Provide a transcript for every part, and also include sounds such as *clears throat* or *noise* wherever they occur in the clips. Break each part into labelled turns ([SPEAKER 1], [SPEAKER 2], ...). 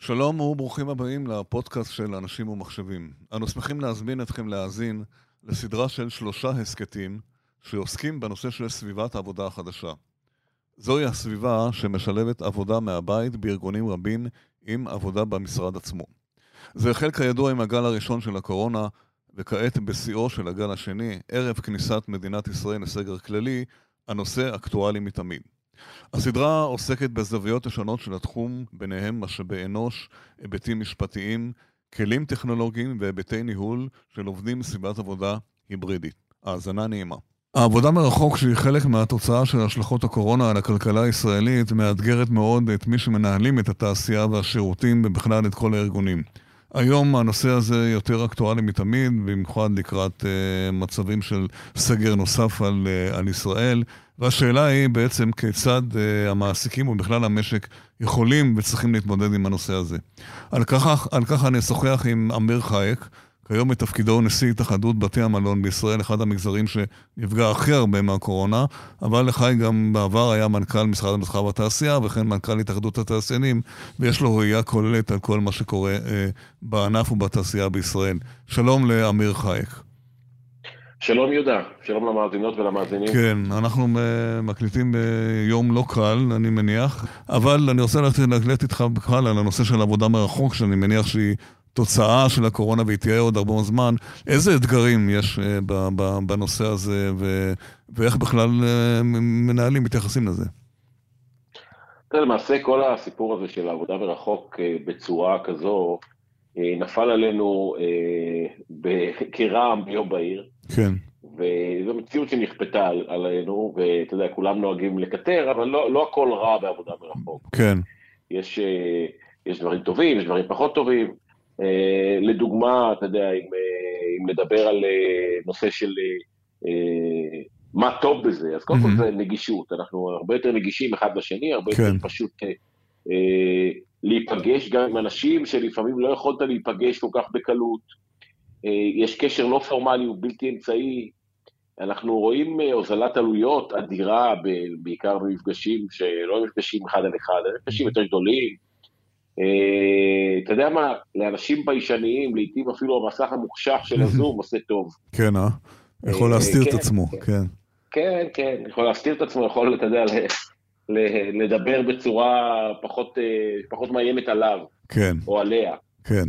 [SPEAKER 1] שלום וברוכים הבאים לפודקאסט של אנשים ומחשבים. אנו שמחים להזמין אתכם להאזין לסדרה של שלושה הסכתים שעוסקים בנושא של סביבת העבודה החדשה. זוהי הסביבה שמשלבת עבודה מהבית בארגונים רבים עם עבודה במשרד עצמו. זה החל כידוע עם הגל הראשון של הקורונה, וכעת בשיאו של הגל השני, ערב כניסת מדינת ישראל לסגר כללי, הנושא אקטואלי מתמיד. הסדרה עוסקת בזוויות השונות של התחום, ביניהם משאבי אנוש, היבטים משפטיים, כלים טכנולוגיים והיבטי ניהול של עובדים בסביבת עבודה היברידית. האזנה נעימה. העבודה מרחוק, שהיא חלק מהתוצאה של השלכות הקורונה על הכלכלה הישראלית, מאתגרת מאוד את מי שמנהלים את התעשייה והשירותים ובכלל את כל הארגונים. היום הנושא הזה יותר אקטואלי מתמיד, במיוחד לקראת uh, מצבים של סגר נוסף על, uh, על ישראל, והשאלה היא בעצם כיצד uh, המעסיקים ובכלל המשק יכולים וצריכים להתמודד עם הנושא הזה. על כך, על כך אני אשוחח עם אמיר חייק, כיום בתפקידו נשיא התאחדות בתי המלון בישראל, אחד המגזרים שנפגע הכי הרבה מהקורונה, אבל לחי גם בעבר היה מנכ"ל משרד המסחר והתעשייה, וכן מנכ"ל התאחדות התעשיינים, ויש לו ראייה כוללת על כל מה שקורה אה, בענף ובתעשייה בישראל. שלום לאמיר חייק.
[SPEAKER 2] שלום יהודה, שלום למאזינות ולמאזינים.
[SPEAKER 1] כן, אנחנו אה, מקליטים ביום לא קל, אני מניח, אבל אני רוצה להקלט איתך בכלל על הנושא של עבודה מרחוק, שאני מניח שהיא... תוצאה של הקורונה והיא תהיה עוד הרבה זמן. איזה אתגרים יש אה, בנושא הזה ו- ואיך בכלל אה, מנהלים מתייחסים לזה?
[SPEAKER 2] למעשה כל הסיפור הזה של העבודה מרחוק אה, בצורה כזו אה, נפל עלינו אה, *laughs* כרעם ביום בהיר.
[SPEAKER 1] כן.
[SPEAKER 2] וזו מציאות שנכפתה עלינו, ואתה יודע, כולם נוהגים לקטר, אבל לא, לא הכל רע בעבודה מרחוק.
[SPEAKER 1] כן.
[SPEAKER 2] יש, אה, יש דברים טובים, יש דברים פחות טובים. Uh, לדוגמה, אתה יודע, אם, uh, אם נדבר על uh, נושא של אה, מה טוב בזה, אז קודם mm-hmm. כל זה נגישות, אנחנו הרבה יותר נגישים אחד לשני, הרבה כן. יותר פשוט אה, להיפגש גם עם אנשים שלפעמים לא יכולת להיפגש כל כך בקלות, יש קשר לא פורמלי, הוא בלתי אמצעי, אנחנו רואים אה, הוזלת עלויות אדירה, ב- בעיקר במפגשים שלא מפגשים אחד על אחד, מפגשים יותר גדולים, אה, אתה יודע מה, לאנשים ביישניים, לעתים אפילו המסך המוחשך של הזום עושה טוב.
[SPEAKER 1] כן, אה? יכול להסתיר את עצמו, כן.
[SPEAKER 2] כן, כן, יכול להסתיר את עצמו, יכול, אתה יודע, לדבר בצורה פחות מאיימת עליו.
[SPEAKER 1] כן.
[SPEAKER 2] או עליה.
[SPEAKER 1] כן.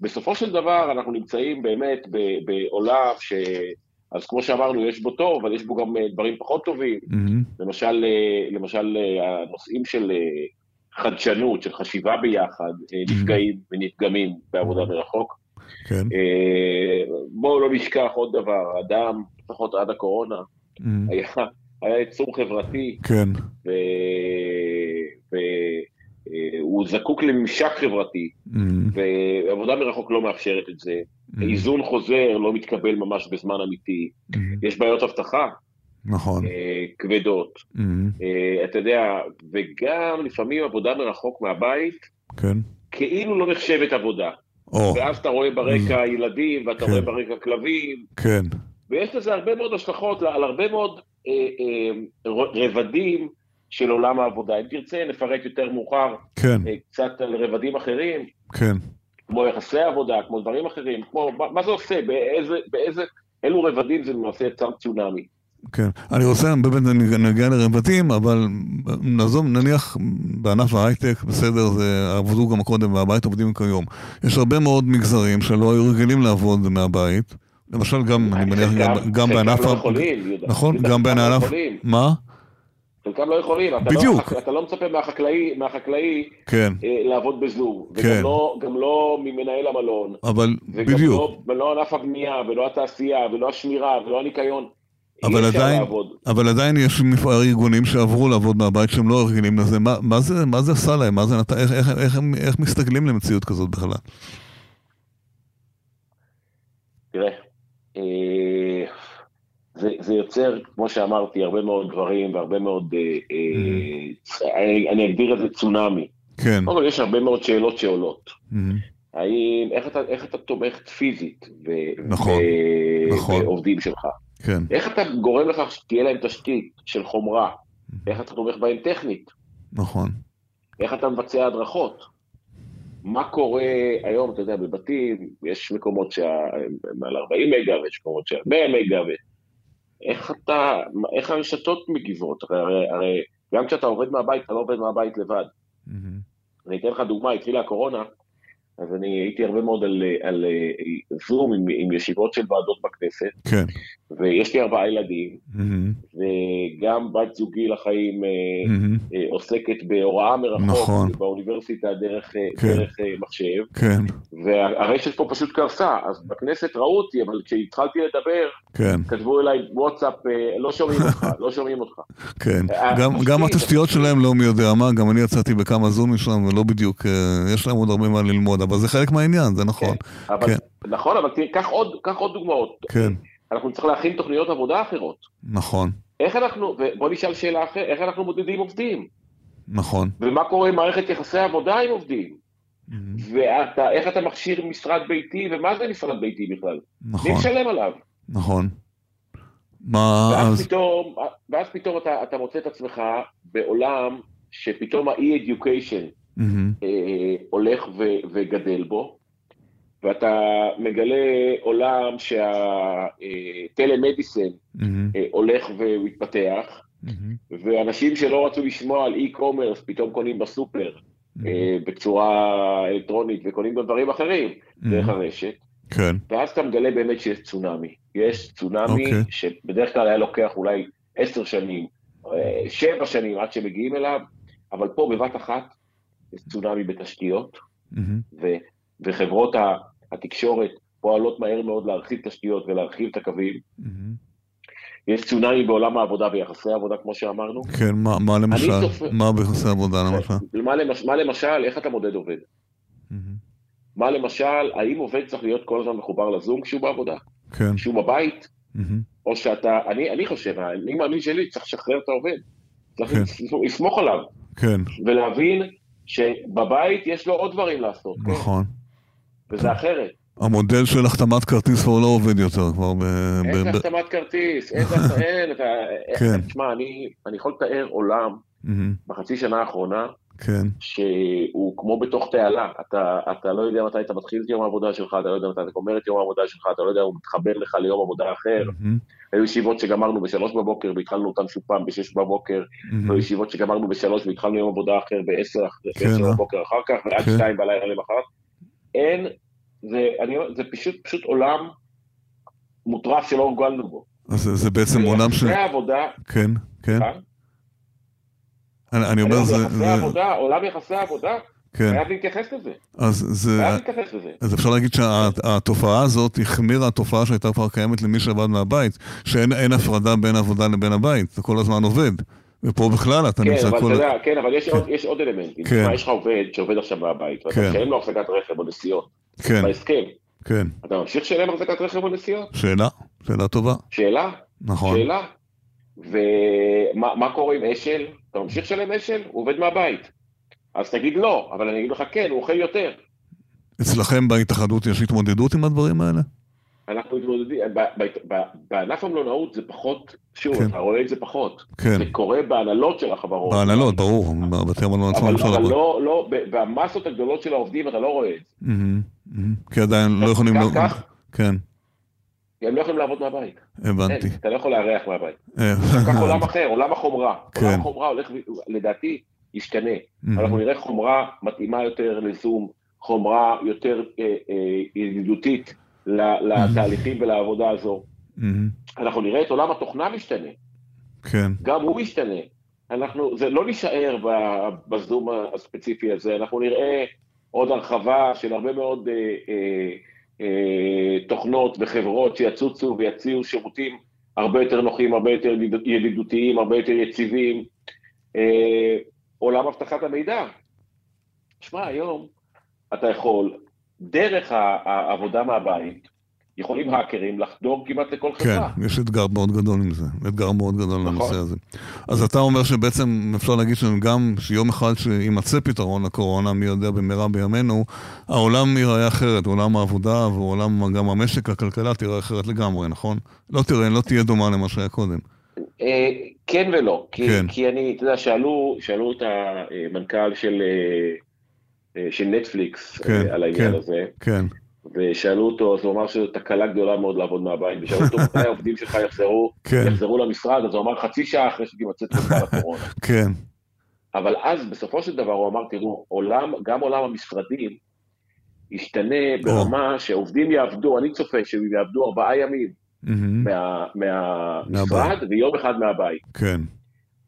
[SPEAKER 2] ובסופו של דבר אנחנו נמצאים באמת בעולם ש... אז כמו שאמרנו, יש בו טוב, אבל יש בו גם אה, דברים פחות טובים. למשל, אה, למשל, הנושאים של אה, חדשנות, של חשיבה ביחד, אה, נפגעים ונפגמים בעבודה מרחוק.
[SPEAKER 1] כן.
[SPEAKER 2] בואו לא נשכח עוד דבר, אדם, לפחות עד הקורונה, היה, היה יצור חברתי.
[SPEAKER 1] כן.
[SPEAKER 2] והוא אה, זקוק לממשק חברתי, ועבודה מרחוק לא מאפשרת את זה. איזון חוזר לא מתקבל ממש בזמן אמיתי. יש בעיות אבטחה, אה,
[SPEAKER 1] נכון.
[SPEAKER 2] Mm-hmm. כבדות. Mm-hmm. אתה יודע, וגם לפעמים עבודה מרחוק מהבית,
[SPEAKER 1] כן.
[SPEAKER 2] כאילו לא נחשבת עבודה.
[SPEAKER 1] Oh.
[SPEAKER 2] ואז אתה רואה ברקע mm-hmm. ילדים, ואתה כן. רואה ברקע כלבים.
[SPEAKER 1] כן.
[SPEAKER 2] ויש לזה הרבה מאוד השלכות על הרבה מאוד אה, אה, רבדים של עולם העבודה. אם תרצה, נפרט יותר מאוחר
[SPEAKER 1] כן.
[SPEAKER 2] אה, קצת על רבדים אחרים.
[SPEAKER 1] כן.
[SPEAKER 2] כמו יחסי עבודה, כמו דברים אחרים, כמו מה, מה זה עושה, באיזה, באיזה, אילו רבדים זה למעשה יצר צונאמי.
[SPEAKER 1] כן. אני רוצה, באמת נגיע לרבטים, אבל נעזוב, נניח בענף ההייטק, בסדר, זה עבדו גם קודם והבית עובדים כיום. יש הרבה מאוד מגזרים שלא היו רגילים לעבוד מהבית. למשל גם, אני מניח, גם, גם בענף...
[SPEAKER 2] חלקם לא יכולים, יהודה. לא
[SPEAKER 1] נכון, גם בענף... מה?
[SPEAKER 2] חלקם לא יכולים.
[SPEAKER 1] בדיוק.
[SPEAKER 2] אתה לא מצפה מהחקלאי, מהחקלאי אה,
[SPEAKER 1] כן.
[SPEAKER 2] לעבוד בזום.
[SPEAKER 1] כן.
[SPEAKER 2] וגם לא, גם לא ממנהל המלון.
[SPEAKER 1] אבל בדיוק.
[SPEAKER 2] וגם לא ענף הבנייה, ולא התעשייה, ולא השמירה, ולא הניקיון.
[SPEAKER 1] אבל עדיין, אבל עדיין יש ארגונים שעברו לעבוד מהבית שהם לא רגילים לזה, מה, מה, זה, מה זה עשה להם? מה זה נת... איך, איך, איך, איך מסתגלים למציאות כזאת בכלל?
[SPEAKER 2] תראה, אה, זה, זה יוצר, כמו שאמרתי, הרבה מאוד דברים והרבה מאוד, אה, אה,
[SPEAKER 1] Mm-hmm.
[SPEAKER 2] צ... אני, אני אגדיר את זה צונאמי.
[SPEAKER 1] כן.
[SPEAKER 2] אבל יש הרבה מאוד שאלות שעולות.
[SPEAKER 1] Mm-hmm.
[SPEAKER 2] האם, איך אתה, איך אתה תומך פיזית ב,
[SPEAKER 1] נכון,
[SPEAKER 2] ב,
[SPEAKER 1] נכון.
[SPEAKER 2] בעובדים שלך?
[SPEAKER 1] כן.
[SPEAKER 2] איך אתה גורם לכך שתהיה להם תשתית של חומרה? איך אתה תומך בהם טכנית?
[SPEAKER 1] נכון.
[SPEAKER 2] איך אתה מבצע הדרכות? מה קורה היום, אתה יודע, בבתים, יש מקומות שהם על 40 מגה ויש מקומות שהם 100 מגה, ו... איך אתה, איך הרשתות מגיבות? הרי, הרי, הרי גם כשאתה עובד מהבית, אתה לא עובד מהבית לבד. אני אתן לך דוגמה, התחילה הקורונה, אז אני הייתי הרבה מאוד על, על, על זום עם, עם ישיבות של ועדות בכנסת,
[SPEAKER 1] כן.
[SPEAKER 2] ויש לי ארבעה ילדים,
[SPEAKER 1] מהמם.
[SPEAKER 2] וגם בת זוגי לחיים אה,
[SPEAKER 1] מהמם.
[SPEAKER 2] אה, עוסקת בהוראה מרחוק,
[SPEAKER 1] נכון.
[SPEAKER 2] באוניברסיטה דרך, אה,
[SPEAKER 1] כן.
[SPEAKER 2] דרך אה, מחשב,
[SPEAKER 1] כן,
[SPEAKER 2] והרשת פה פשוט קרסה, אז בכנסת ראו אותי, אבל כשהתחלתי לדבר,
[SPEAKER 1] כן,
[SPEAKER 2] כתבו אליי וואטסאפ, אה, לא שומעים אותך,
[SPEAKER 1] *laughs*
[SPEAKER 2] לא שומעים אותך.
[SPEAKER 1] כן.
[SPEAKER 2] אה,
[SPEAKER 1] גם-
[SPEAKER 2] התשתית,
[SPEAKER 1] גם התשתיות שלהם לא מי יודע מה, גם אני יצאתי בכמה זומים שלהם ולא בדיוק, אה, יש להם עוד הרבה מה ללמוד, אבל זה חלק מהעניין, זה נכון.
[SPEAKER 2] אבל,
[SPEAKER 1] כן.
[SPEAKER 2] נכון, אבל תראה, קח עוד, קח עוד דוגמאות.
[SPEAKER 1] כן,
[SPEAKER 2] אנחנו נצטרך להכין תוכניות עבודה אחרות.
[SPEAKER 1] נכון,
[SPEAKER 2] איך אנחנו, ובוא נשאל שאלה אחרת, איך אנחנו מודדים עובדים?
[SPEAKER 1] נכון.
[SPEAKER 2] ומה קורה עם מערכת יחסי עבודה עם עובדים?
[SPEAKER 1] מהמם.
[SPEAKER 2] ואיך אתה מכשיר משרד ביתי, ומה זה משרד ביתי בכלל? מי
[SPEAKER 1] נכון,
[SPEAKER 2] משלם עליו?
[SPEAKER 1] נכון. מה
[SPEAKER 2] ואז
[SPEAKER 1] אה, אז?
[SPEAKER 2] פתאום, ואז פתאום אתה, אתה מוצא את עצמך בעולם שפתאום האי-אדיוקיישן
[SPEAKER 1] מהמם.
[SPEAKER 2] אה, הולך ו, וגדל בו, ואתה מגלה עולם שהטלמדיסן
[SPEAKER 1] מהמם.
[SPEAKER 2] אה, הולך ומתפתח,
[SPEAKER 1] מהמם.
[SPEAKER 2] ואנשים שלא רצו לשמוע על אי-קומרס פתאום קונים בסופר
[SPEAKER 1] מהמם.
[SPEAKER 2] אה, בצורה אלקטרונית וקונים גם דברים אחרים דרך הרשת,
[SPEAKER 1] כן,
[SPEAKER 2] ואז אתה מגלה באמת שיש צונאמי. יש צונאמי
[SPEAKER 1] אוקיי.
[SPEAKER 2] שבדרך כלל היה לוקח אולי עשר שנים, אה, שבע שנים עד שמגיעים אליו, אבל פה בבת אחת יש צונאמי בתשתיות,
[SPEAKER 1] מהמם.
[SPEAKER 2] ו- וחברות ה- התקשורת פועלות מהר מאוד להרחיב תשתיות ולהרחיב את הקווים.
[SPEAKER 1] מהמם.
[SPEAKER 2] יש צונאמי בעולם העבודה ויחסי העבודה, כמו שאמרנו.
[SPEAKER 1] כן, מה- מה למשל?
[SPEAKER 2] אוקיי. צופה- אה.
[SPEAKER 1] מה ביחסי עבודה למשל?
[SPEAKER 2] מה למש- מה למשל, איך אתה מודד עובד?
[SPEAKER 1] מהמם.
[SPEAKER 2] מה למשל, האם עובד צריך להיות כל הזמן מחובר לזום כשהוא בעבודה,
[SPEAKER 1] כן,
[SPEAKER 2] כשהוא בבית,
[SPEAKER 1] מהמם.
[SPEAKER 2] או שאתה, אני, אני חושב, אני מאמין שלי, צריך לשחרר את העובד. צריך
[SPEAKER 1] כן.
[SPEAKER 2] לס- לסמוך עליו,
[SPEAKER 1] כן,
[SPEAKER 2] ולהבין שבבית יש לו עוד דברים לעשות,
[SPEAKER 1] נכון.
[SPEAKER 2] וזה אחרת.
[SPEAKER 1] המודל של החתמת כרטיס כבר לא עובד יותר, כבר ב...
[SPEAKER 2] אין
[SPEAKER 1] כן. ב- ב-
[SPEAKER 2] החתמת
[SPEAKER 1] *laughs*
[SPEAKER 2] כרטיס, אין, אתה- אין, אתה...
[SPEAKER 1] כן.
[SPEAKER 2] אה, תשמע, אני, אני יכול לתאר עולם
[SPEAKER 1] מהמם.
[SPEAKER 2] בחצי שנה האחרונה,
[SPEAKER 1] כן,
[SPEAKER 2] שהוא כמו בתוך תעלה, אתה, אתה לא יודע מתי אתה מתחיל את יום העבודה שלך, אתה לא יודע מתי אתה גומר את יום העבודה שלך, אתה לא יודע אם הוא מתחבר לך ליום עבודה אחר.
[SPEAKER 1] מהמם.
[SPEAKER 2] היו ישיבות שגמרנו בשלוש בבוקר והתחלנו אותן שוב פעם בשש בבוקר,
[SPEAKER 1] מהמם.
[SPEAKER 2] היו ישיבות שגמרנו בשלוש והתחלנו יום עבודה אחר בעשר אחרי-
[SPEAKER 1] Mm. כן,
[SPEAKER 2] בעשר
[SPEAKER 1] אה.
[SPEAKER 2] בבוקר אחר כך, ועד
[SPEAKER 1] כן.
[SPEAKER 2] שתיים בלילה למחרת. אין, זה, אני, אומר, זה פשוט, פשוט עולם מוטרף שלא הורגלנו בו.
[SPEAKER 1] אז זה- זה בעצם עולם של...
[SPEAKER 2] ויחסי העבודה,
[SPEAKER 1] כן, כן.
[SPEAKER 2] אה?
[SPEAKER 1] אני אני אומר,
[SPEAKER 2] היום
[SPEAKER 1] זה...
[SPEAKER 2] יחסי
[SPEAKER 1] זה-
[SPEAKER 2] העבודה, עולם יחסי העבודה,
[SPEAKER 1] כן,
[SPEAKER 2] חייב להתייחס לזה,
[SPEAKER 1] אז זה...
[SPEAKER 2] חייב להתייחס לזה.
[SPEAKER 1] אז אפשר להגיד שהתופעה הזאת החמירה התופעה שהייתה כבר קיימת למי שעבד מהבית, שאין אין הפרדה בין עבודה לבין הבית, זה כל הזמן עובד. ופה בכלל אתה
[SPEAKER 2] כן,
[SPEAKER 1] נמצא
[SPEAKER 2] אבל
[SPEAKER 1] כל...
[SPEAKER 2] אתה יודע, כן, אבל יש
[SPEAKER 1] כן.
[SPEAKER 2] עוד- יש עוד אלמנטים.
[SPEAKER 1] כן.
[SPEAKER 2] תשמע, יש לך עובד שעובד עכשיו מהבית, ואתה
[SPEAKER 1] כן.
[SPEAKER 2] משלם לו החזקת רכב או נסיעות,
[SPEAKER 1] כן,
[SPEAKER 2] בהסכם.
[SPEAKER 1] כן.
[SPEAKER 2] אתה ממשיך לשלם החזקת רכב או נסיעות?
[SPEAKER 1] שאלה, שאלה טובה,
[SPEAKER 2] שאלה,
[SPEAKER 1] נכון.
[SPEAKER 2] שאלה. ומה מה קורה עם אשל? אתה ממשיך לשלם אשל? הוא עובד מהבית. אז תגיד לא, אבל אני אגיד לך כן, הוא אוכל יותר. כן.
[SPEAKER 1] אצלכם בהתאחדות יש התמודדות עם הדברים האלה?
[SPEAKER 2] אנחנו מתמודדים, ב- ב- ב- בענף המלונאות זה פחות, שוב,
[SPEAKER 1] כן.
[SPEAKER 2] אתה רואה את זה פחות.
[SPEAKER 1] כן,
[SPEAKER 2] זה קורה בהנהלות של החברות.
[SPEAKER 1] בהנהלות, ברור, בבתי המלון עצמם
[SPEAKER 2] אבל
[SPEAKER 1] אפשר
[SPEAKER 2] אבל
[SPEAKER 1] לבוא.
[SPEAKER 2] לא, לא, ב- במסות הגדולות של העובדים אתה לא רואה את זה.
[SPEAKER 1] מהמם, מהמם. כי עדיין לא יכולים...
[SPEAKER 2] כך-
[SPEAKER 1] לא-
[SPEAKER 2] כך.
[SPEAKER 1] כן,
[SPEAKER 2] הם לא יכולים לעבוד מהבית.
[SPEAKER 1] הבנתי.
[SPEAKER 2] אין, אתה לא יכול לארח
[SPEAKER 1] *laughs*
[SPEAKER 2] מהבית.
[SPEAKER 1] אה,
[SPEAKER 2] כך עולם אחר, עולם החומרה.
[SPEAKER 1] כן.
[SPEAKER 2] עולם החומרה הולך, ו- לדעתי, ישתנה.
[SPEAKER 1] מהמם,
[SPEAKER 2] אנחנו נראה חומרה מתאימה יותר לזום, חומרה יותר אה, אה, ידידותית ל- לתהליכים ולעבודה הזו.
[SPEAKER 1] מהמם,
[SPEAKER 2] אנחנו נראה את עולם התוכנה משתנה,
[SPEAKER 1] כן,
[SPEAKER 2] גם הוא משתנה. אנחנו, זה לא נישאר ב- בזום הספציפי הזה, אנחנו נראה עוד הרחבה של הרבה מאוד אה, אה, אה, תוכנות וחברות שיצוצו ויציעו שירותים הרבה יותר נוחים, הרבה יותר ידיד- ידידותיים, הרבה יותר יציבים. אה, עולם אבטחת המידע. שמע, היום אתה יכול, דרך ה- העבודה מהבית, יכולים האקרים לחדור כמעט לכל
[SPEAKER 1] כן,
[SPEAKER 2] חברה.
[SPEAKER 1] יש אתגר מאוד גדול עם זה, אתגר מאוד גדול
[SPEAKER 2] נכון.
[SPEAKER 1] לנושא הזה. אז אתה אומר שבעצם אפשר להגיד שגם שיום אחד שיימצא פתרון לקורונה, מי יודע במהרה בימינו, העולם ייראה אחרת, עולם העבודה ועולם גם המשק, הכלכלה תיראה אחרת לגמרי, נכון? לא תראה, לא תהיה דומה למה שהיה קודם.
[SPEAKER 2] אה, כן ולא, כי,
[SPEAKER 1] כן.
[SPEAKER 2] כן. כי אני, אתה יודע, שאלו, שאלו את המנכ"ל של, אה, אה, של נטפליקס
[SPEAKER 1] כן,
[SPEAKER 2] כן, על העניין
[SPEAKER 1] כן.
[SPEAKER 2] כן. הזה,
[SPEAKER 1] כן.
[SPEAKER 2] ושאלו אותו, אז הוא אמר שזו תקלה גדולה מאוד לעבוד מהבית, ושאלו אותו, מתי העובדים שלך יחזרו,
[SPEAKER 1] כן.
[SPEAKER 2] יחזרו למשרד, אז הוא אמר חצי שעה אחרי שתימצא תקופה לקורונה.
[SPEAKER 1] כן,
[SPEAKER 2] אבל אז בסופו של דבר הוא אמר, תראו, עולם, גם עולם המשרדים ישתנה ברמה שעובדים יעבדו, אני צופה שהם יעבדו ארבעה ימים
[SPEAKER 1] מהמם,
[SPEAKER 2] מה, מהמשרד ויום אחד מהבית.
[SPEAKER 1] כן.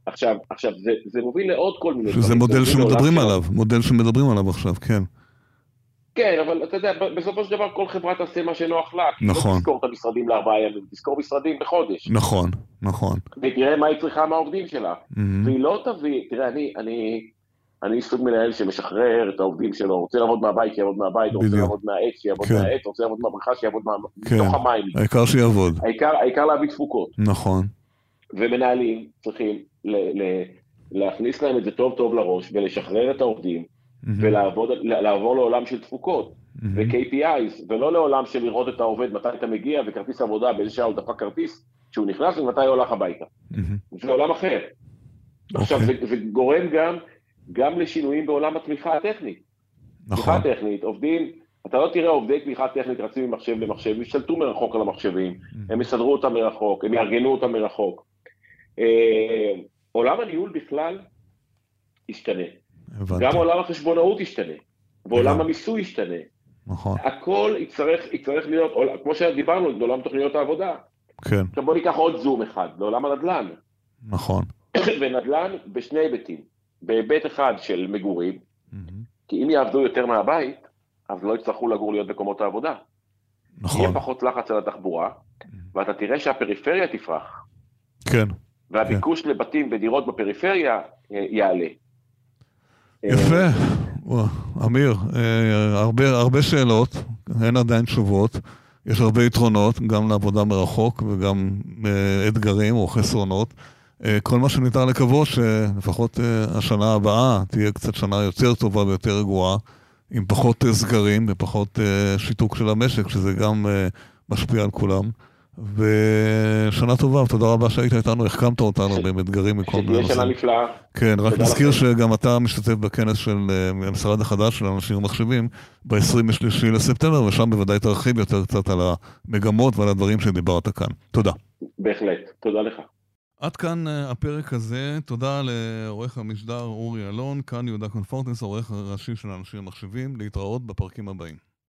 [SPEAKER 2] עכשיו, עכשיו זה, זה מוביל לעוד כל מיני לא
[SPEAKER 1] שזה
[SPEAKER 2] זה
[SPEAKER 1] מודל
[SPEAKER 2] מוביל לעולם
[SPEAKER 1] שמדברים
[SPEAKER 2] של-
[SPEAKER 1] עליו, מודל שמדברים עליו עכשיו, כן.
[SPEAKER 2] כן, אבל אתה יודע, ב- בסופו של דבר כל חברה תעשה מה שנוח לה. כי
[SPEAKER 1] נכון.
[SPEAKER 2] לא תזכור את המשרדים לארבעה ימים, תזכור משרדים בחודש.
[SPEAKER 1] נכון, נכון.
[SPEAKER 2] ותראה מה היא צריכה מהעובדים שלה.
[SPEAKER 1] מהמם,
[SPEAKER 2] והיא לא תביא, תראה, אני, אני, אני סוג מנהל שמשחרר את העובדים שלו, רוצה לעבוד מהבית, שיעבוד מהבית, רוצה
[SPEAKER 1] בדיוק.
[SPEAKER 2] לעבוד מהעץ, שיעבוד
[SPEAKER 1] כן.
[SPEAKER 2] מהעץ, רוצה לעבוד מהבריכה, שיעבוד מה-
[SPEAKER 1] כן.
[SPEAKER 2] מתוך המים.
[SPEAKER 1] העיקר שיעבוד.
[SPEAKER 2] העיקר, העיקר להביא תפוקות.
[SPEAKER 1] נכון,
[SPEAKER 2] ומנהלים צריכים ל, ל, להכניס להם את זה טוב טוב לראש, ולשחרר את העובדים,
[SPEAKER 1] מהמם,
[SPEAKER 2] ולעבור לעולם של תפוקות,
[SPEAKER 1] מהמם,
[SPEAKER 2] ו-KPIs, ולא לעולם של לראות את העובד, מתי אתה מגיע, וכרטיס עבודה, באיזה שעה הוא דפק כרטיס, כשהוא נכנס ומתי הוא הולך הביתה.
[SPEAKER 1] מהמם.
[SPEAKER 2] זה עולם אחר. עכשיו, זה,
[SPEAKER 1] אוקיי,
[SPEAKER 2] זה גורם גם, גם לשינויים בעולם התמיכה הטכנית.
[SPEAKER 1] נכון,
[SPEAKER 2] תמיכה טכנית, עובדים, אתה לא תראה עובדי תמיכה טכנית רצים ממחשב למחשב, ישתלטו מרחוק על המחשבים, הם יסדרו אותם מרחוק, הם יארגנו אותם מרחוק. אה, עולם הניהול בכלל ישתנה. גם
[SPEAKER 1] הבנתי,
[SPEAKER 2] עולם החשבונאות ישתנה, ועולם
[SPEAKER 1] הבנתי.
[SPEAKER 2] המיסוי ישתנה.
[SPEAKER 1] נכון,
[SPEAKER 2] הכל יצטרך, יצטרך להיות, עול- כמו שדיברנו, בעולם תוכניות העבודה.
[SPEAKER 1] כן,
[SPEAKER 2] עכשיו בוא ניקח עוד זום אחד, לעולם הנדל"ן. *clears throat*
[SPEAKER 1] נכון.
[SPEAKER 2] ונדל"ן בשני היבטים. בהיבט אחד של מגורים,
[SPEAKER 1] מהמם,
[SPEAKER 2] כי אם יעבדו יותר מהבית, אז לא יצטרכו לגור להיות בקומות העבודה.
[SPEAKER 1] נכון,
[SPEAKER 2] יהיה פחות לחץ על התחבורה, ואתה תראה שהפריפריה תפרח,
[SPEAKER 1] כן.
[SPEAKER 2] והביקוש לבתים ודירות בפריפריה אה, יעלה. אה,
[SPEAKER 1] יפה. וואו, אמיר, אה, הרבה, הרבה שאלות, אין עדיין תשובות. יש הרבה יתרונות, גם לעבודה מרחוק וגם אה, אתגרים או חסרונות. אה, כל מה שניתן לקוות שלפחות אה, השנה הבאה תהיה קצת שנה יותר טובה ויותר רגועה, עם פחות אה, סגרים ופחות אה, שיתוק של המשק, שזה גם אה, משפיע על כולם. ושנה טובה, תודה רבה שהיית איתנו, החכמת אותנו
[SPEAKER 2] ש-
[SPEAKER 1] עם אתגרים מכל מיני
[SPEAKER 2] שתהיה
[SPEAKER 1] נושאים.
[SPEAKER 2] שנה נפלאה.
[SPEAKER 1] כן, רק
[SPEAKER 2] תודה
[SPEAKER 1] נזכיר
[SPEAKER 2] לכם.
[SPEAKER 1] שגם אתה משתתף בכנס של אה, המשרד החדש של אנשים ומחשבים ב-23 לספטמבר, ושם בוודאי תרחיב יותר קצת על המגמות ועל הדברים שדיברת כאן. תודה.
[SPEAKER 2] בהחלט. תודה לך.
[SPEAKER 1] עד כאן אה, הפרק הזה, תודה לעורך המשדר אורי אלון, כאן יהודה קונפורטנס, העורך הראשי של אנשים ומחשבים, להתראות בפרקים הבאים.